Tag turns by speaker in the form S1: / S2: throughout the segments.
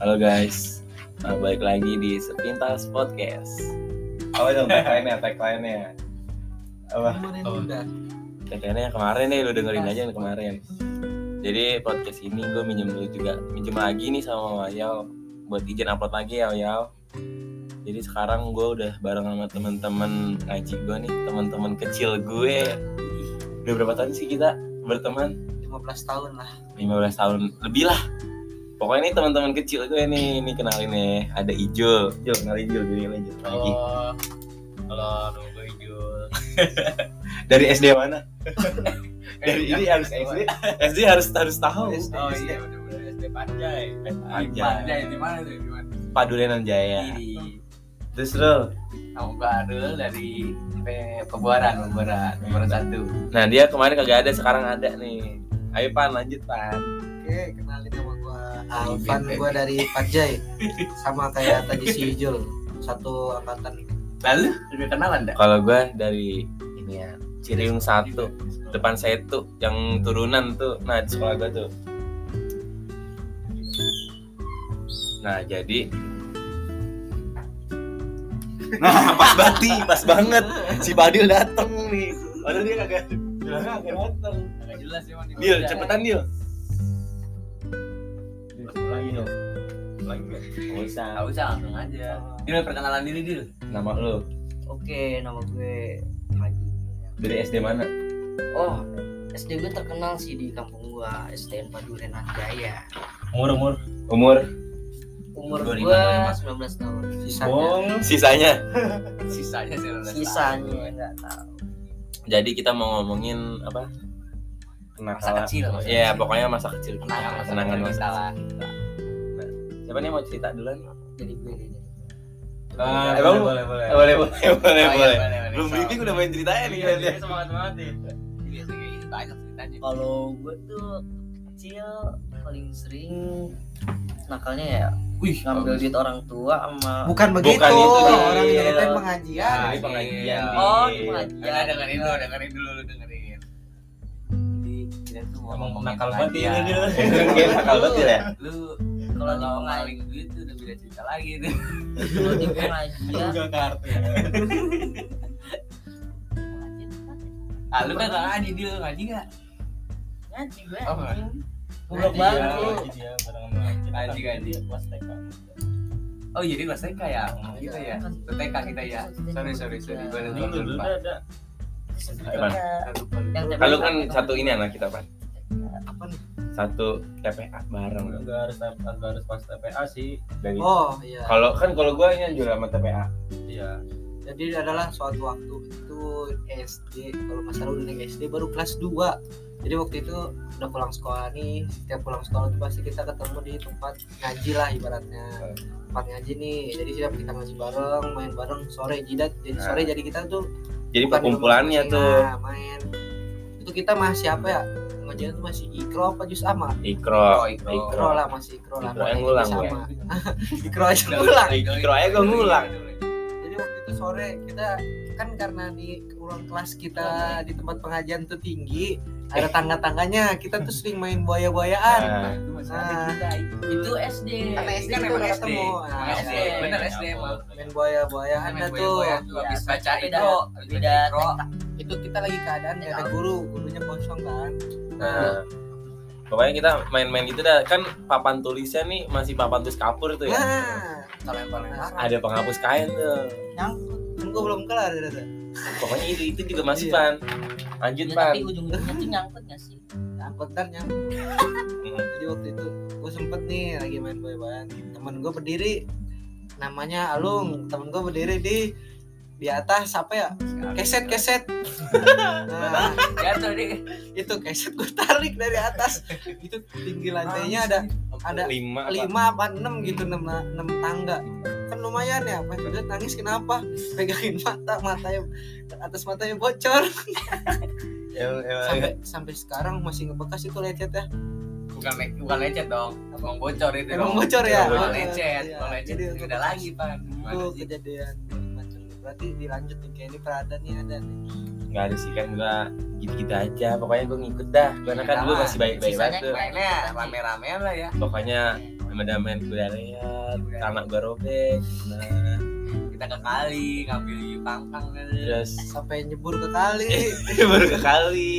S1: Halo guys, nah, balik lagi di Sepintas Podcast.
S2: apa dong Oh, tagline-nya tagline-nya apa
S3: Kemarin
S1: Oh.
S3: udah.
S1: Kayaknya kemarin nih lu dengerin aja yang kemarin. Jadi podcast ini gue minjem dulu juga, minjem lagi nih sama Wayao buat izin upload lagi ya Wayao. Jadi sekarang gue udah bareng sama teman-teman ngaji gue nih, teman-teman kecil gue. Udah berapa tahun sih kita berteman?
S3: 15 tahun lah
S1: 15 tahun lebih lah. Pokoknya ini teman-teman kecil gue nih, ini kenalin nih ada Ijo, Ijo kenalin Ijo, kenalin Ijo lagi.
S4: Oh.
S2: Halo.
S4: Halo, nama gue Ijul.
S1: Dari SD mana?
S4: Eh,
S2: dari
S4: iya,
S2: ini harus SD
S1: SD harus harus tahu.
S2: SD.
S4: Oh iya, bener-bener SD Panjai.
S1: Aja.
S3: di mana tuh? Di mana?
S1: Padurenan Jaya.
S4: Ini
S1: Terus lo.
S4: nama gue Arul dari sampai Pembuaran, Pembuaran, Pembuaran satu.
S1: Nah dia kemarin kagak ada, sekarang ada nih. Ayo pan lanjut pan.
S3: Oke, kenalin nama gua
S4: Alvin,
S3: Alvan,
S4: baby.
S3: gua dari Panjai. Sama kayak tadi si Jul, satu angkatan.
S4: Lalu lebih kenalan dah.
S1: Kalau gue dari ini ya Ciriung satu depan saya tuh yang turunan tuh. Nah di sekolah gue tuh. Nah jadi Nah pas bati pas banget si Badil dateng nih. Padahal dia kagak bilangnya kagak dateng.
S4: Agak jelas ya, Wan.
S1: Dil cepetan Dil.
S2: lagi dong lagi nggak?
S1: Nggak usah.
S4: Gak usah, langsung aja. Dil, perkenalan diri, Dil.
S1: Nama lo
S5: Oke, nama gue Magi.
S1: dari SD mana?
S5: Oh, SD gue terkenal sih di kampung gua, SDN Padurenan Jaya.
S2: umur umur
S1: Umur?
S5: Umur
S4: 25,
S5: gue 19 tahun. Sisanya,
S2: bong
S1: Sisanya.
S4: Sisanya sih. lu udah
S5: sisanya enggak tahu.
S1: Jadi kita mau ngomongin apa?
S4: tahu. Masa kecil. masa
S1: Ya
S4: kecil.
S1: pokoknya masa kecil kita,
S4: Kenangan masa
S1: kenangan
S4: kecil
S1: masa Eh,
S4: kita lah.
S1: kecil. Siapa nih mau cerita duluan?
S5: Jadi gue ini.
S1: Ah,
S2: boleh
S1: emang-
S2: boleh boleh
S1: Eh, boleh boleh boleh
S4: Oh, iya,
S1: boleh.
S4: boleh.
S1: Belum
S4: So,
S1: briefing udah main ceritanya nih Ah,
S4: Iya,
S1: kayaknya.
S4: dia semangat banget nih.
S1: Nah,
S4: Biasa kayak gitu, banyak ceritanya.
S5: Kalau gue tuh kecil paling sering nakalnya ya
S4: Wih,
S5: ngambil duit orang tua sama
S3: Bukan begitu.
S1: itu, Dil.
S3: Orang yang nyeritain pengajian.
S1: Nah,
S4: Ah,
S1: ini
S4: iya.
S1: pengajian.
S5: Oh,
S1: nih.
S5: di pengajian.
S4: Ya, dengerin dulu, dengerin dulu, lu dengerin. Jadi kita tuh mau
S2: emang
S4: ngomongin
S2: nakal banget
S4: pengajian.
S2: ini dia
S1: Kayaknya nakal banget Dil, ya.
S4: ya. Lu
S5: Kalau di
S4: kalau
S5: pengajian,
S4: ngaling duit tuh udah beda cerita lagi tuh.
S5: kalau di pengajian,
S2: Tunggal kartu
S4: Ah, lu kan nggak ngaji dia ngaji nggak?
S5: ngaji gue.
S4: Oh,
S5: anjing.
S4: Goblok
S5: Goblok
S4: banget
S5: banget
S4: lu.
S5: lu.
S2: dia bareng sama kita.
S4: Ngaji, ngaji.
S2: Kelas TK.
S4: Oh jadi kelas TK ya? Gitu ya? TK kita ya? Sorry sorry sorry,
S5: Iya.
S4: Iya. gue udah
S2: Ini
S4: lupa.
S2: lu dulu
S4: lupa.
S2: dah, dah.
S1: Gimana?
S5: Yang TPA.
S1: Kalau kan satu ini anak kita pan.
S3: Apa nih?
S1: Satu TPA
S2: Lu
S1: bareng.
S2: nggak harus nggak harus pas TPA sih
S1: Dari
S3: Oh, iya.
S1: kalau kan kalau gue ini juara sama TPA.
S2: iya
S3: Jadi adalah suatu waktu itu SD, kalau nggak salah udah naik SD baru kelas 2. Jadi waktu itu udah pulang sekolah nih, setiap pulang sekolah tuh pasti kita ketemu di tempat ngaji lah ibaratnya. Tempat ngaji nih, jadi setiap kita ngaji bareng, main bareng sore jidat. Jadi sore jadi kita
S1: Nah.
S3: tuh
S1: Jadi
S3: bukan di
S1: perkumpulannya
S3: rumah
S1: tuh
S3: masing-masing, nah, main. Itu kita masih apa ya? Ngajinya tuh masih ikro apa jus ama?
S1: Oh, Ikro,
S4: Ikro,
S3: Ikro lah masih ikro lah.
S1: Ikro yang
S3: Jus
S1: ngulang, ya?
S3: ama.
S1: gue.
S3: Ikro aja ngulang.
S1: Ikro aja gue ngulang.
S4: Iya,
S3: jadi waktu itu sore kita kan karena di ruang kelas kita di tempat pengajian tuh tinggi ada tangga-tangganya kita tuh sering main buaya-buayaan
S1: Nah,
S4: Itu masih ada kita.
S5: Itu SD.
S3: Karena
S4: Ini
S3: SD
S4: kan
S3: tuh
S4: emang
S3: udah
S4: SD.
S3: ketemu.
S4: Emang
S3: Ah,
S4: SD,
S5: iya.
S4: bener SD emang.
S3: main buaya-buayaan dah tuh
S4: Tuh ya. habis baca
S5: Beda-
S4: itu, habis baca
S5: beda
S4: ikro.
S3: itu kita lagi keadaan gak ada guru gurunya kosong kan nah,
S1: Nah, pokoknya kita main-main gitu dah. Kan papan tulisnya nih masih papan tulis kapur tuh ya.
S3: nah
S4: Kita lempar-lempar.
S1: Ada penghapus kain tuh.
S3: kan gue belum kelar ya Dada.
S1: Pokoknya itu itu juga masih
S3: Iya.
S1: pan. Lanjut
S5: Ya,
S1: pan.
S5: tapi ujung-ujungnya tuh nyangkut gak sih?
S3: angkot ntar nyam jadi waktu itu gue sempet nih lagi main boy-boyan temen gue berdiri namanya Alung temen gue berdiri di di atas apa ya keset keset nah
S4: Jatuh deh.
S3: itu keset gue tarik dari atas itu tinggi lantainya ada ada
S1: lima. apa?
S3: lima apa enam gitu enam enam tangga kan lumayan ya pas udah nangis kenapa pegangin mata matanya atas matanya bocor
S1: Em- em-
S3: sampai sampai sekarang masih ngebekas itu lecet ya
S4: bukan le- bukan lecet dong emang bocor itu
S3: Emang
S4: dong
S3: bocor ya?
S4: emang
S1: Bocor.
S4: lecet
S3: Iya.
S4: emang lecet
S3: Jadi
S4: itu beda lagi pan Gimana
S3: itu
S4: sih?
S3: kejadian macam itu. berarti dilanjut nih kayak ini peradaan nih ada nih
S1: nggak ada sih kan gua gitu-gitu aja. Pokoknya gua ngikut dah. Karena kan
S4: Iya,
S1: gua
S4: sama.
S1: masih baik-baik
S5: Sisanya
S1: banget tuh.
S5: gua-
S4: mainnya rame-ramean lah ya
S1: Pokoknya pada main kuliah lihat ya. anak gue robek nah
S4: kita ke kali ngambil pangkang kan
S1: terus
S3: sampai nyebur ke kali
S1: baru ke kali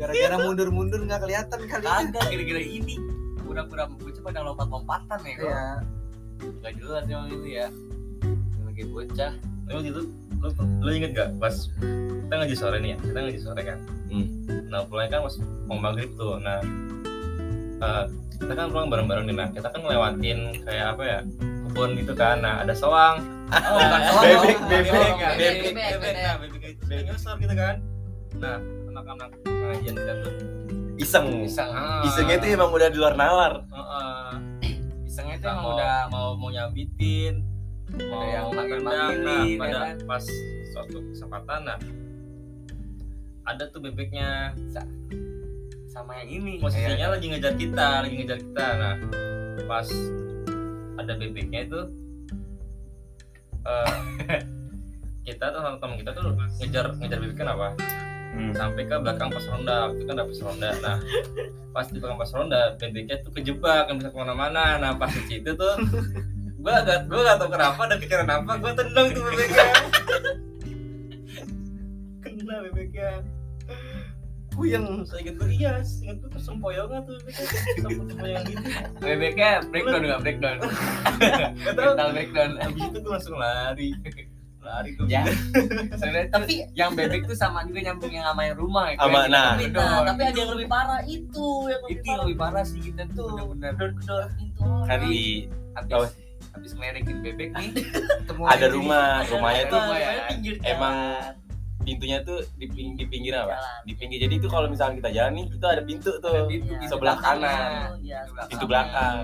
S3: gara-gara mundur-mundur nggak kelihatan kali
S1: Ah,
S4: kagak gara-gara ini pura-pura bocah pada lompat-lompatan ya kok
S1: Iya.
S3: ya
S4: nggak jelas emang itu ya sebagai bocah
S2: Lu waktu itu lu, lu inget gak pas kita ngaji sore nih ya kita ngaji sore kan
S1: Hmm.
S2: nah pulangnya kan pas mau maghrib tuh nah eh, kita kan pulang bareng-bareng nih nah kita kan ngelewatin kayak apa ya kebun gitu kan nah ada soang
S4: oh bukan soal
S2: bebek
S4: dong.
S2: bebek
S4: Bebek,
S2: bebek bebek
S4: bebek,
S2: bebek nah bebek bebek nyosor gitu kan nah anak-anak pengajian kita tuh
S1: iseng
S4: iseng ah.
S1: isengnya tuh emang udah di luar nalar
S2: gitu ya? Heeh.
S4: isengnya tuh
S2: Nah,
S4: emang
S2: mau-
S4: udah mau mau nyambitin
S2: mau
S4: yang
S2: nendang,
S4: manggil-manggilin,
S2: nah,
S4: ya
S2: pada
S4: kan?
S2: pas suatu kesempatan nah ada tuh bebeknya
S4: sama yang ini
S2: posisinya lagi ngejar kita lagi ngejar kita nah pas ada bebeknya itu eh, kita tuh sama teman kita tuh ngejar ngejar bebek kenapa sampai ke belakang pos ronda itu kan ada pos ronda nah pas di belakang pos ronda bebeknya tuh kejebak nggak bisa kemana-mana nah pas di situ tuh gua agak gua gak tau kenapa dan pikiran apa gua tendang tuh bebeknya kena bebeknya Puyeng, saya ingat gue iya, ingat gue tuh sempoyongan tuh bebeknya sempoyongan gitu
S4: bebeknya breakdown nggak breakdown
S2: Gak tau,
S4: mental breakdown
S2: abis itu gue langsung lari Lari tuh
S4: ya sebenarnya tapi yang bebek tuh sama juga nyambung yang sama yang rumah ya
S1: Sama,
S4: Kayak
S1: nah.
S4: gitu,
S5: Nah,
S4: dong.
S5: tapi ada yang lebih parah itu yang lebih
S4: itu yang
S5: parah
S4: lebih parah sih kita tuh bener-bener
S5: gedor pintu orang.
S1: kali Apa?
S4: habis habis ngelerekin bebek nih
S3: ketemu
S1: ada
S3: lagi.
S1: rumah
S5: Iya.
S1: rumahnya tuh
S4: rumah ya.
S5: pinggir jalan.
S1: emang pintunya tuh di, ping- di pinggir apa
S5: Jalan.
S1: di pinggir jadi itu kalau misalnya kita jalan nih itu ada pintu
S4: ada
S1: tuh
S4: pintu
S5: Iya,
S4: bisa
S1: sebelah
S5: belakang
S1: kanan.
S5: itu, iya, sebelah
S1: pintu
S5: kanan.
S1: belakang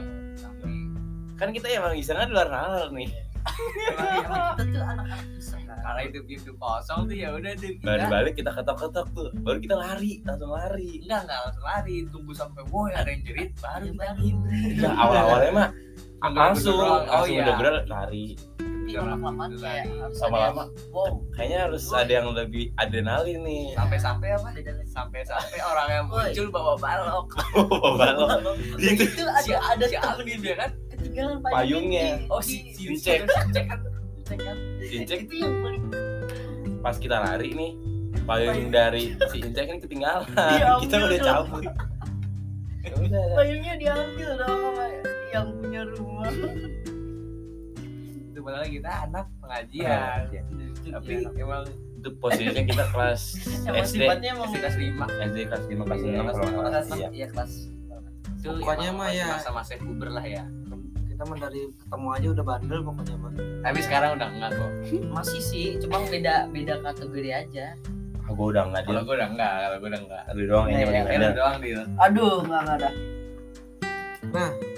S1: kan kita emang isengnya di luar nalar nih
S5: Emang- emang kita tuh anak-anak bisa kan?
S4: Nah, karena itu pintu kosong tuh ya udah tuh
S1: baru
S4: kita
S1: balik kita ketok-ketok tuh baru kita lari langsung lari
S4: enggak enggak langsung lari tunggu sampai boy ada yang jerit baru
S5: Iya,
S4: kita
S5: Bang.
S4: ngintip.
S1: ya awal-awalnya mah
S4: Sambil
S1: langsung
S4: bergerak. Oh,
S1: langsung
S4: iya.
S1: udah bener lari
S5: Tapi lama-lamaan
S4: Lari.
S5: kayak harus ada
S1: Lama-lama.
S5: yang, wow
S1: kayaknya harus ada yang lebih adrenalin nih
S4: sampai-sampai apa sampai-sampai orang yang
S5: Woi.
S4: muncul bawa balok
S1: Oh, balok
S5: Gitu. itu
S4: si
S5: ada ada
S4: ada si
S5: temen
S4: Alvin dia kan
S5: ketinggalan
S1: Payungnya.
S5: di-
S4: oh si
S5: Iya.
S4: si
S1: Si Cek.
S4: si Cek kan
S5: Cek kan?
S1: Incek
S5: itu yang paling
S1: pas kita lari nih payung dari si Incek kan ketinggalan
S5: Iya,
S1: kita
S5: ambil
S1: udah
S5: dong.
S1: cabut Ya udah
S5: payungnya diambil dong sama yang punya rumah
S4: itu padahal kita anak pengajian tapi
S5: Iya.
S4: emang
S1: itu posisinya kita kelas
S5: emang
S1: SD
S5: sifatnya emang
S4: masih kelas lima
S1: SD kelas 5 kelas
S4: Iya,
S1: 6 kalau nggak
S5: kelas
S1: salah iya
S5: ya kelas
S4: itu
S3: Pokoknya
S4: emang
S3: mah
S4: masih
S3: ya.
S4: masa-masa puber lah ya
S3: kita mah dari ketemu aja udah bandel pokoknya bang
S4: tapi sekarang udah enggak kok
S5: masih sih cuma beda beda kategori aja
S1: ah gue udah nggak
S4: kalau
S1: dia
S4: gue udah enggak kalau gue udah enggak
S1: lu doang ini
S5: Iya,
S1: mending
S4: Kayak
S1: ada
S4: lu doang deal
S5: aduh nggak nggak ada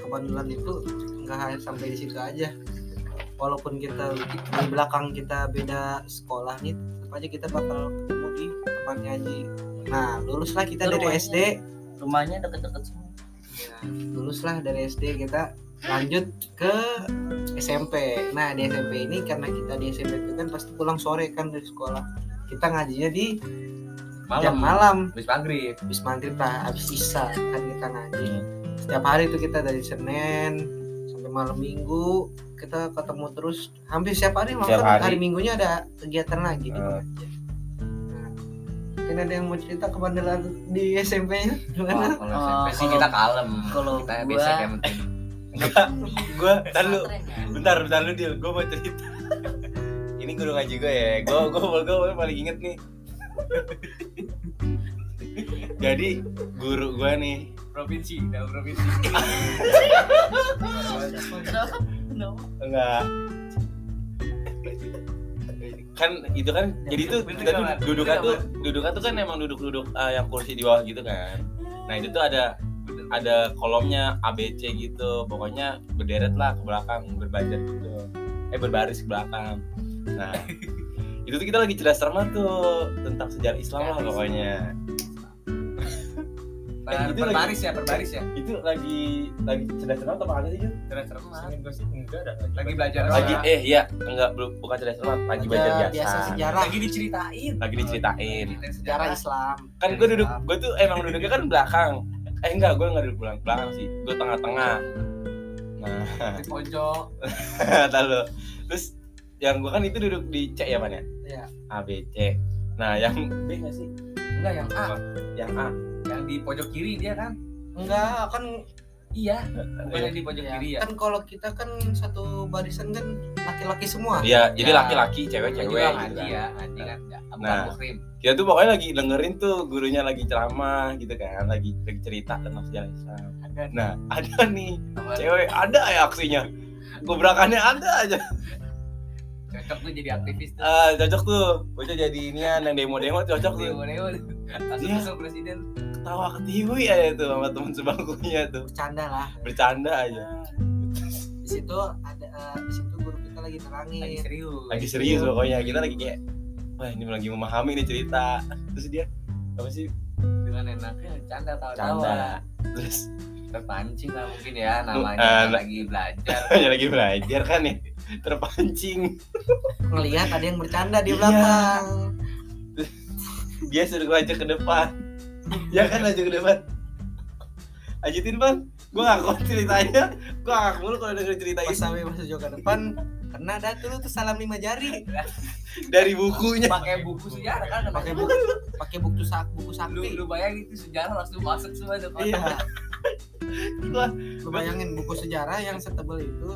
S3: kebandelan itu nggak hanya sampai di situ aja walaupun kita di belakang kita beda sekolah nih tetap aja kita bakal ketemu di tempatnya aja nah luluslah kita
S5: Itu
S3: dari
S5: rumahnya.
S3: SD
S5: rumahnya deket-deket semua
S3: Nah, luluslah dari SD kita lanjut ke SMP. Nah di SMP ini karena kita di SMP itu kan pasti pulang sore kan dari sekolah. Kita ngajinya di jam malam,
S4: habis maghrib
S3: habis maghrib lah, habis isya kan kita ngaji.
S1: Iya.
S3: Setiap hari itu kita dari Senin sampai malam Minggu kita ketemu terus hampir setiap hari malah
S1: Setiap
S3: kan
S1: hari.
S3: hari. Minggunya ada kegiatan lagi di
S1: Hmm.
S3: pengajian. Nah, mungkin ada yang mau cerita kebandelan di SMP-nya
S4: Wah,
S3: gimana?
S4: kalau
S5: Oh,
S4: SMP sih
S5: kalau-
S4: kita kalem
S5: kalau
S4: kita
S5: gua-
S4: basic yang penting
S1: gue ntar lu
S5: Pesantren ya.
S1: bentar bentar lu dia gue mau cerita ini guru ngaji gue ya gue gue gue paling inget nih jadi guru gue nih
S4: provinsi udah provinsi
S5: Kenapa? Kenapa?
S1: enggak kan itu kan jadi tuh
S4: Bener
S1: kita tuh
S4: nggak?
S1: dudukan
S4: Bener
S1: tuh dudukan tuh kan emang duduk-duduk eh, yang kursi di bawah gitu kan nah itu tuh ada ada kolomnya ABC gitu pokoknya berderet lah ke belakang berbaris gitu eh berbaris ke belakang nah itu tuh kita lagi jelas cermat tuh tentang sejarah Islam lah pokoknya
S4: Per-
S1: Eh, itu lagi-
S4: berbaris ya berbaris ya
S1: itu lagi lagi jelas cermat apa kagak sih Jun?
S4: terus terus
S2: Sini gua sih enggak ada
S4: Lagi belajar doang.
S1: lagi eh iya enggak belum bukan jelas cermat lagi belajar biasa,
S3: sejarah
S4: lagi diceritain
S1: lagi diceritain
S4: Kita
S3: sejarah Islam
S1: kan gue duduk gue tuh emang duduknya kan belakang eh enggak gue nggak duduk belakang belakang sih gue tengah-tengah Nah,
S4: di pojok
S1: kata lo. Terus yang gua kan itu duduk di C ya mana?
S3: Iya.
S1: A B C. Nah, yang B nggak sih?
S4: enggak yang A
S1: Yang A.
S4: yang di pojok kiri dia kan
S3: Enggak, kan
S4: iya bukan yang di pojok
S3: ya,
S4: kiri ya
S3: kan kalau kita kan satu barisan kan laki-laki semua.
S1: Iya, jadi
S4: Ya.
S1: laki-laki,
S4: Itu
S1: cewek-cewek
S4: bilang
S1: gitu
S4: Haji
S1: kan.
S4: ya Haji kan ya, bukan
S1: Nah.
S4: Muhrim.
S1: Kita tuh pokoknya lagi dengerin tuh gurunya lagi ceramah gitu kan, lagi lagi cerita tentang sejarah Islam.
S4: Ada.
S1: Nah, ada nih
S4: Sama
S1: cewek ada ya aksinya. Gebrakannya ada aja.
S4: cocok tuh jadi aktivis tuh
S1: Ah, cocok tuh. Bocah jadi inian yang demo-demo cocok tuh.
S4: Leo-leo langsung
S1: Iya.
S4: masuk presiden
S1: Ketawa ketiwi aja tuh sama teman sebangkunya tuh.
S3: Bercanda lah.
S1: Bercanda aja.
S3: Di situ ada eh, di situ guru kita lagi terangin.
S4: lagi serius
S1: lagi serius
S3: Iya.
S1: pokoknya kita lagi kayak wah ini lagi memahami nih cerita terus dia apa sih
S4: dengan enaknya canda tawa-tawa
S1: canda terus
S4: terpancing lah mungkin ya
S1: eh,
S4: namanya lagi belajar
S1: hanya lagi belajar kan nih terpancing
S3: Ngelihat ada yang bercanda di
S1: Iya.
S3: belakang.
S1: dia suruh gua ajak ke depan ya kan ajak ke depan ajutin bang gua ngaku ceritanya gua ngaku mulu kalau denger cerita
S3: Pas
S1: itu
S3: sampai masuk jauh ke depan, kena dah tuh lu tuh salam lima jari.
S1: dari bukunya
S4: pakai buku sejarah kan
S3: Pakai
S4: pakai
S3: buku pakai buku sak buku
S4: lu
S3: sakti.
S4: lu bayangin itu sejarah langsung masuk semua tuh
S1: Iya.
S3: Nah,
S1: Wah.
S3: lu bayangin buku sejarah yang setebel itu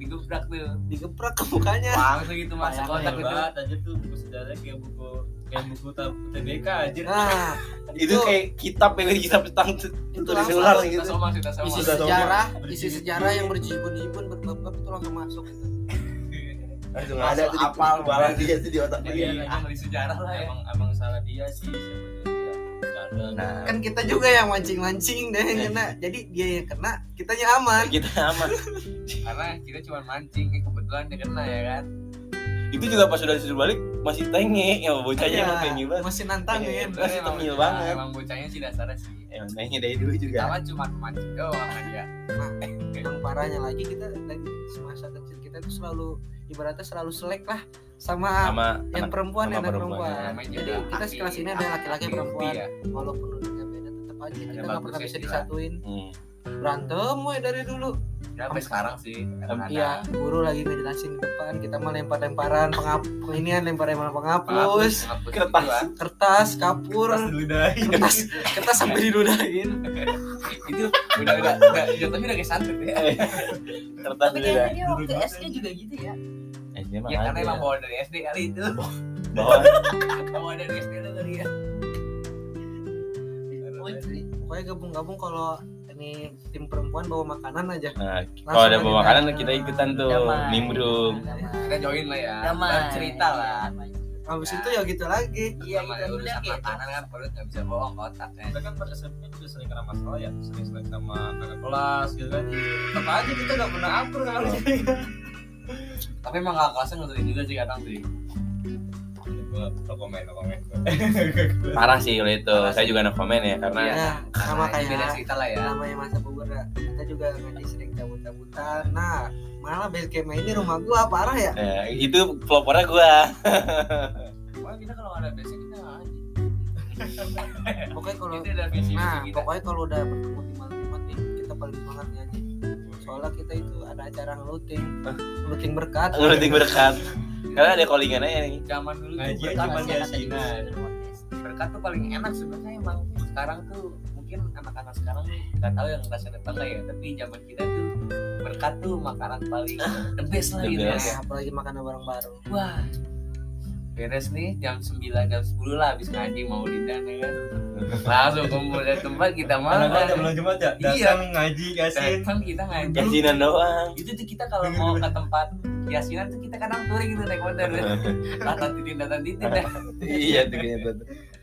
S4: digebrak tuh
S3: digeprak ke mukanya.
S4: langsung gitu masuk
S3: Bayangin
S4: kotak
S2: Banyak
S4: itu
S2: banget aja tuh buku sejarah kayak buku kayak buku tab- TBK aja.
S3: Nah,
S1: itu kayak kitab yang kitab tentang
S3: itu
S1: tulis
S3: langsung
S1: ulang
S4: kita
S1: gitu
S4: somang kita somang
S3: isi
S1: Sudah tahu,
S3: sejarah, isi
S2: Berjilid-jilid.
S3: sejarah yang berjibun-jibun berbab-bab itu langsung masuk.
S1: langsung
S4: Langsung
S1: ada tuh di
S4: apal.
S1: kepala dia tuh di otak
S4: jadi
S1: dia
S2: Iya.
S4: ahli sejarah lah ya
S2: Emang emang salah dia sih sebenarnya. Bercanda.
S1: nah
S3: Kan kita juga yang mancing-mancing deh yang kena. Jadi dia yang kena, kitanya aman.
S1: kita aman
S4: karena kita cuma mancing eh, kebetulan dia kena ya kan
S1: itu juga pas sudah disuruh balik masih tenge ya bocahnya
S3: Iya,
S1: emang tenge banget
S3: masih ya. nantangin.
S4: gitu.
S1: Iya. Masih
S4: Emang- ya,
S1: tengil banget. Iya.
S4: emang bocahnya sih dasarnya sih
S1: emang tenge dari dulu juga
S4: sama cuma mancing doang kan dia
S3: Yang parahnya lagi kita dari semasa kecil kita itu selalu ibaratnya selalu selek lah sama,
S1: sama
S3: yang
S1: anak
S3: perempuan
S1: sama
S3: yang anak
S1: perempuan.
S3: perempuan.
S4: Namanya
S3: Iya. Jadi
S4: juga
S3: kita
S4: aki-
S3: sekelas ini ada laki-laki
S4: aki
S3: perempuan.
S4: ya.
S3: Walaupun udah beda tetap aja kita nggak pernah
S4: bagusnya
S3: bisa
S4: sih lah.
S3: disatuin.
S1: Hmm.
S3: Berantem woy dari dulu.
S4: Ya, sampai sekarang sih kadang-kadang.
S3: Iya, guru lagi meditasi di depan, kita mah lempar-lemparan pengap ini ya, lempar-lemparan
S4: Penghapus,
S3: penghapus,
S4: penghapus
S1: kertas.
S4: gitu kan.
S3: kertas, kapur, kertas, kertas sampai diludahin.
S4: itu udah udah udah jatuhnya udah kayak santet ya
S1: kertas
S5: Tapi
S1: dulu
S5: kayaknya
S1: dah
S5: dia waktu SD juga gitu ya.
S1: Eh, dia mah
S4: ya karena
S1: ada.
S4: emang bawa dari SD kali itu
S1: Bawa. Nah,
S4: bawa dari SD lu kali ya
S5: Oh, itu.
S3: Pokoknya gabung-gabung kalau ini tim perempuan bawa makanan aja.
S1: Nah,
S3: Langsung
S1: kalau ada
S3: aja
S1: bawa makanan
S3: dah.
S1: kita ikutan tuh
S5: Damai.
S1: nimbrung
S5: Damai.
S4: kita join lah ya
S5: Damai.
S4: Baru cerita lah
S3: Habis itu ya gitu lagi.
S5: Iya,
S4: Sama
S5: itu udah
S4: urusan
S3: ya.
S5: kayak
S4: makanan kan perut nggak bisa bohong kotaknya
S2: Kita kan pada SMP juga sering kena masalah ya, sering sering sama kakak kelas gitu kan. Tetap aja kita nggak pernah akur kali.
S4: tapi emang gak kelasnya ngeselin juga sih kadang sih
S2: Gua no komen, no komen.
S1: parah sih kalau itu
S4: Parah
S1: saya
S4: sih.
S1: juga no komen ya karena
S4: Iya.
S3: Nah, sama
S4: Nah, ini beda
S3: kayak
S4: cerita lah ya
S3: namanya masa puber kita juga ngaji sering cabut-cabutan. Nah, malah base camp ini rumah gua parah ya.
S1: eh, itu pelopornya gua
S4: pokoknya kita kalau ada basic kita nggak aja
S3: Pokoknya kalau
S4: kita ada basic
S3: nah,
S4: kita
S3: pokoknya kalau udah bertemu di malam-malam nih, kita paling semangat ngaji. Soalnya kita itu ada acara ngeluting, ngeluting berkat.
S1: ngurutin berkat karena ada callingan aja nih
S4: zaman dulu tuh
S2: Ngaji
S4: berkat,
S2: cuma
S4: sih,
S2: dia
S4: kata
S2: sinar.
S4: dia. berkat tuh paling enak sebenarnya emang sekarang tuh mungkin anak-anak sekarang nggak tahu yang rasa datang ya tapi zaman kita tuh berkat tuh makanan paling the best lah
S1: The
S4: gitu
S1: best.
S4: ya
S3: Nah, apalagi makanan bareng-bareng.
S4: wah beres nih jam 9 jam 10 lah habis ngaji mau lidan ya kan langsung kumpul di tempat kita makan
S2: Anak-anak udah belum jumat ya, datang
S4: Iya.
S2: ngaji yasin.
S4: datang kita ngaji
S1: gajinan doang
S4: itu tuh kita kalau mau ke tempat yasinan tuh kita kadang touring gitu naik motor tatan titin tatan titin dah
S1: iya tuh kayaknya tuh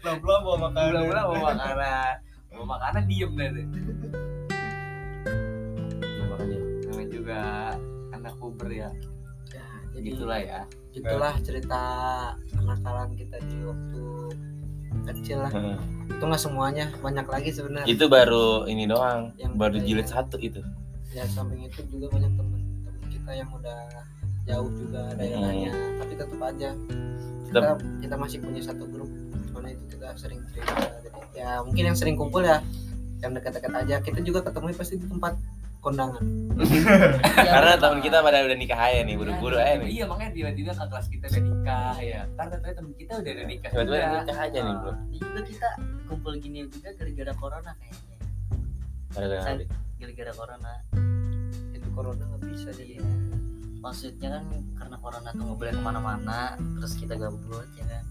S2: Belum belum bawa makan.
S4: Mula-mula mau makanan mau makanan diem deh tuh. namanya juga anak puber ya
S3: Ya, jadi
S4: gitulah ya
S3: itulah cerita kenakalan kita di waktu kecil lah.
S1: Heeh.
S3: Itu nggak semuanya, banyak lagi sebenarnya.
S1: Hmm. itu baru ini doang
S3: Yang
S1: baru
S3: kita
S1: jilid
S4: gitu.
S3: ingat.
S1: satu itu
S3: Ya samping itu juga banyak teman teman kita yang udah jauh juga daerahnya, tapi tetap aja kita
S1: Hmm. Tetep.
S3: kita masih punya satu grup mana itu kita sering cerita. Jadi, ya mungkin yang sering kumpul ya yang dekat-dekat aja. Kita juga ketemu pasti di tempat kondangan
S5: Iya,
S1: Karena
S5: bener.
S1: teman kita pada udah nikah aja nih, buru-buru aja nih.
S4: Iya makanya tiba-tiba ke kelas kita udah nikah ya. Karena ternyata temen kita Iya, udah ada nikah.
S1: Tiba-tiba
S4: juga.
S1: udah nikah aja nih, bro.
S5: Ini Iya, juga kita kumpul gini juga gara-gara corona kayaknya
S4: Iya.
S1: Gara-gara
S5: Saya-
S1: Nabi.
S5: gara-gara corona
S3: itu corona nggak bisa jadi
S5: Iya. maksudnya kan karena corona tuh nggak boleh kemana-mana terus kita gabut ya kan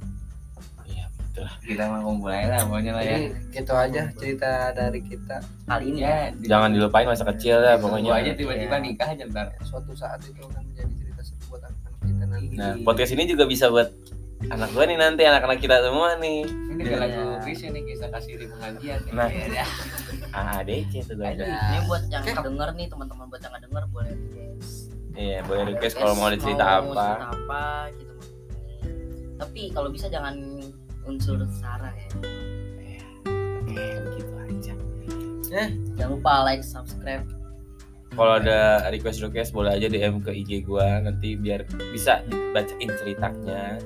S1: Iya, betul.
S4: Kita mau ngumpul aja lah pokoknya
S1: Nah,
S4: lah ya.
S3: jadi gitu aja cerita dari kita
S5: kali ini
S4: Ya,
S5: ya
S1: Jangan dilupain masa kecil ya
S4: Pokoknya aja
S1: pokoknya.
S4: tiba-tiba
S3: Iya.
S4: nikah aja ntar.
S3: suatu saat itu akan menjadi cerita seru buat anak-anak kita nanti
S1: Nah, podcast ini juga bisa buat anak gua nih nanti anak-anak kita semua nih.
S4: Ini kayak
S5: Iya.
S4: lagu Chris nih kisah kasih di pengajian.
S1: Nah.
S4: Iya.
S1: Ah, DC tuh gua.
S4: Ada.
S5: ini buat yang
S4: Oke.
S5: nggak denger nih teman-teman buat yang nggak denger boleh request
S1: Iya, boleh request kalau mau ada cerita
S5: mau
S1: apa.
S5: cerita apa gitu tapi kalau bisa jangan unsur sara ya
S1: Oke, gitu aja.
S5: jangan lupa like subscribe
S1: Kalau ada request request boleh aja DM ke IG gua nanti biar bisa dibacain ceritanya.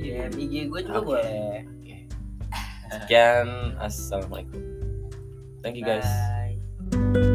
S5: DM IG gue juga boleh
S1: Oke. Sekian, assalamualaikum. Thank you guys.
S5: Bye.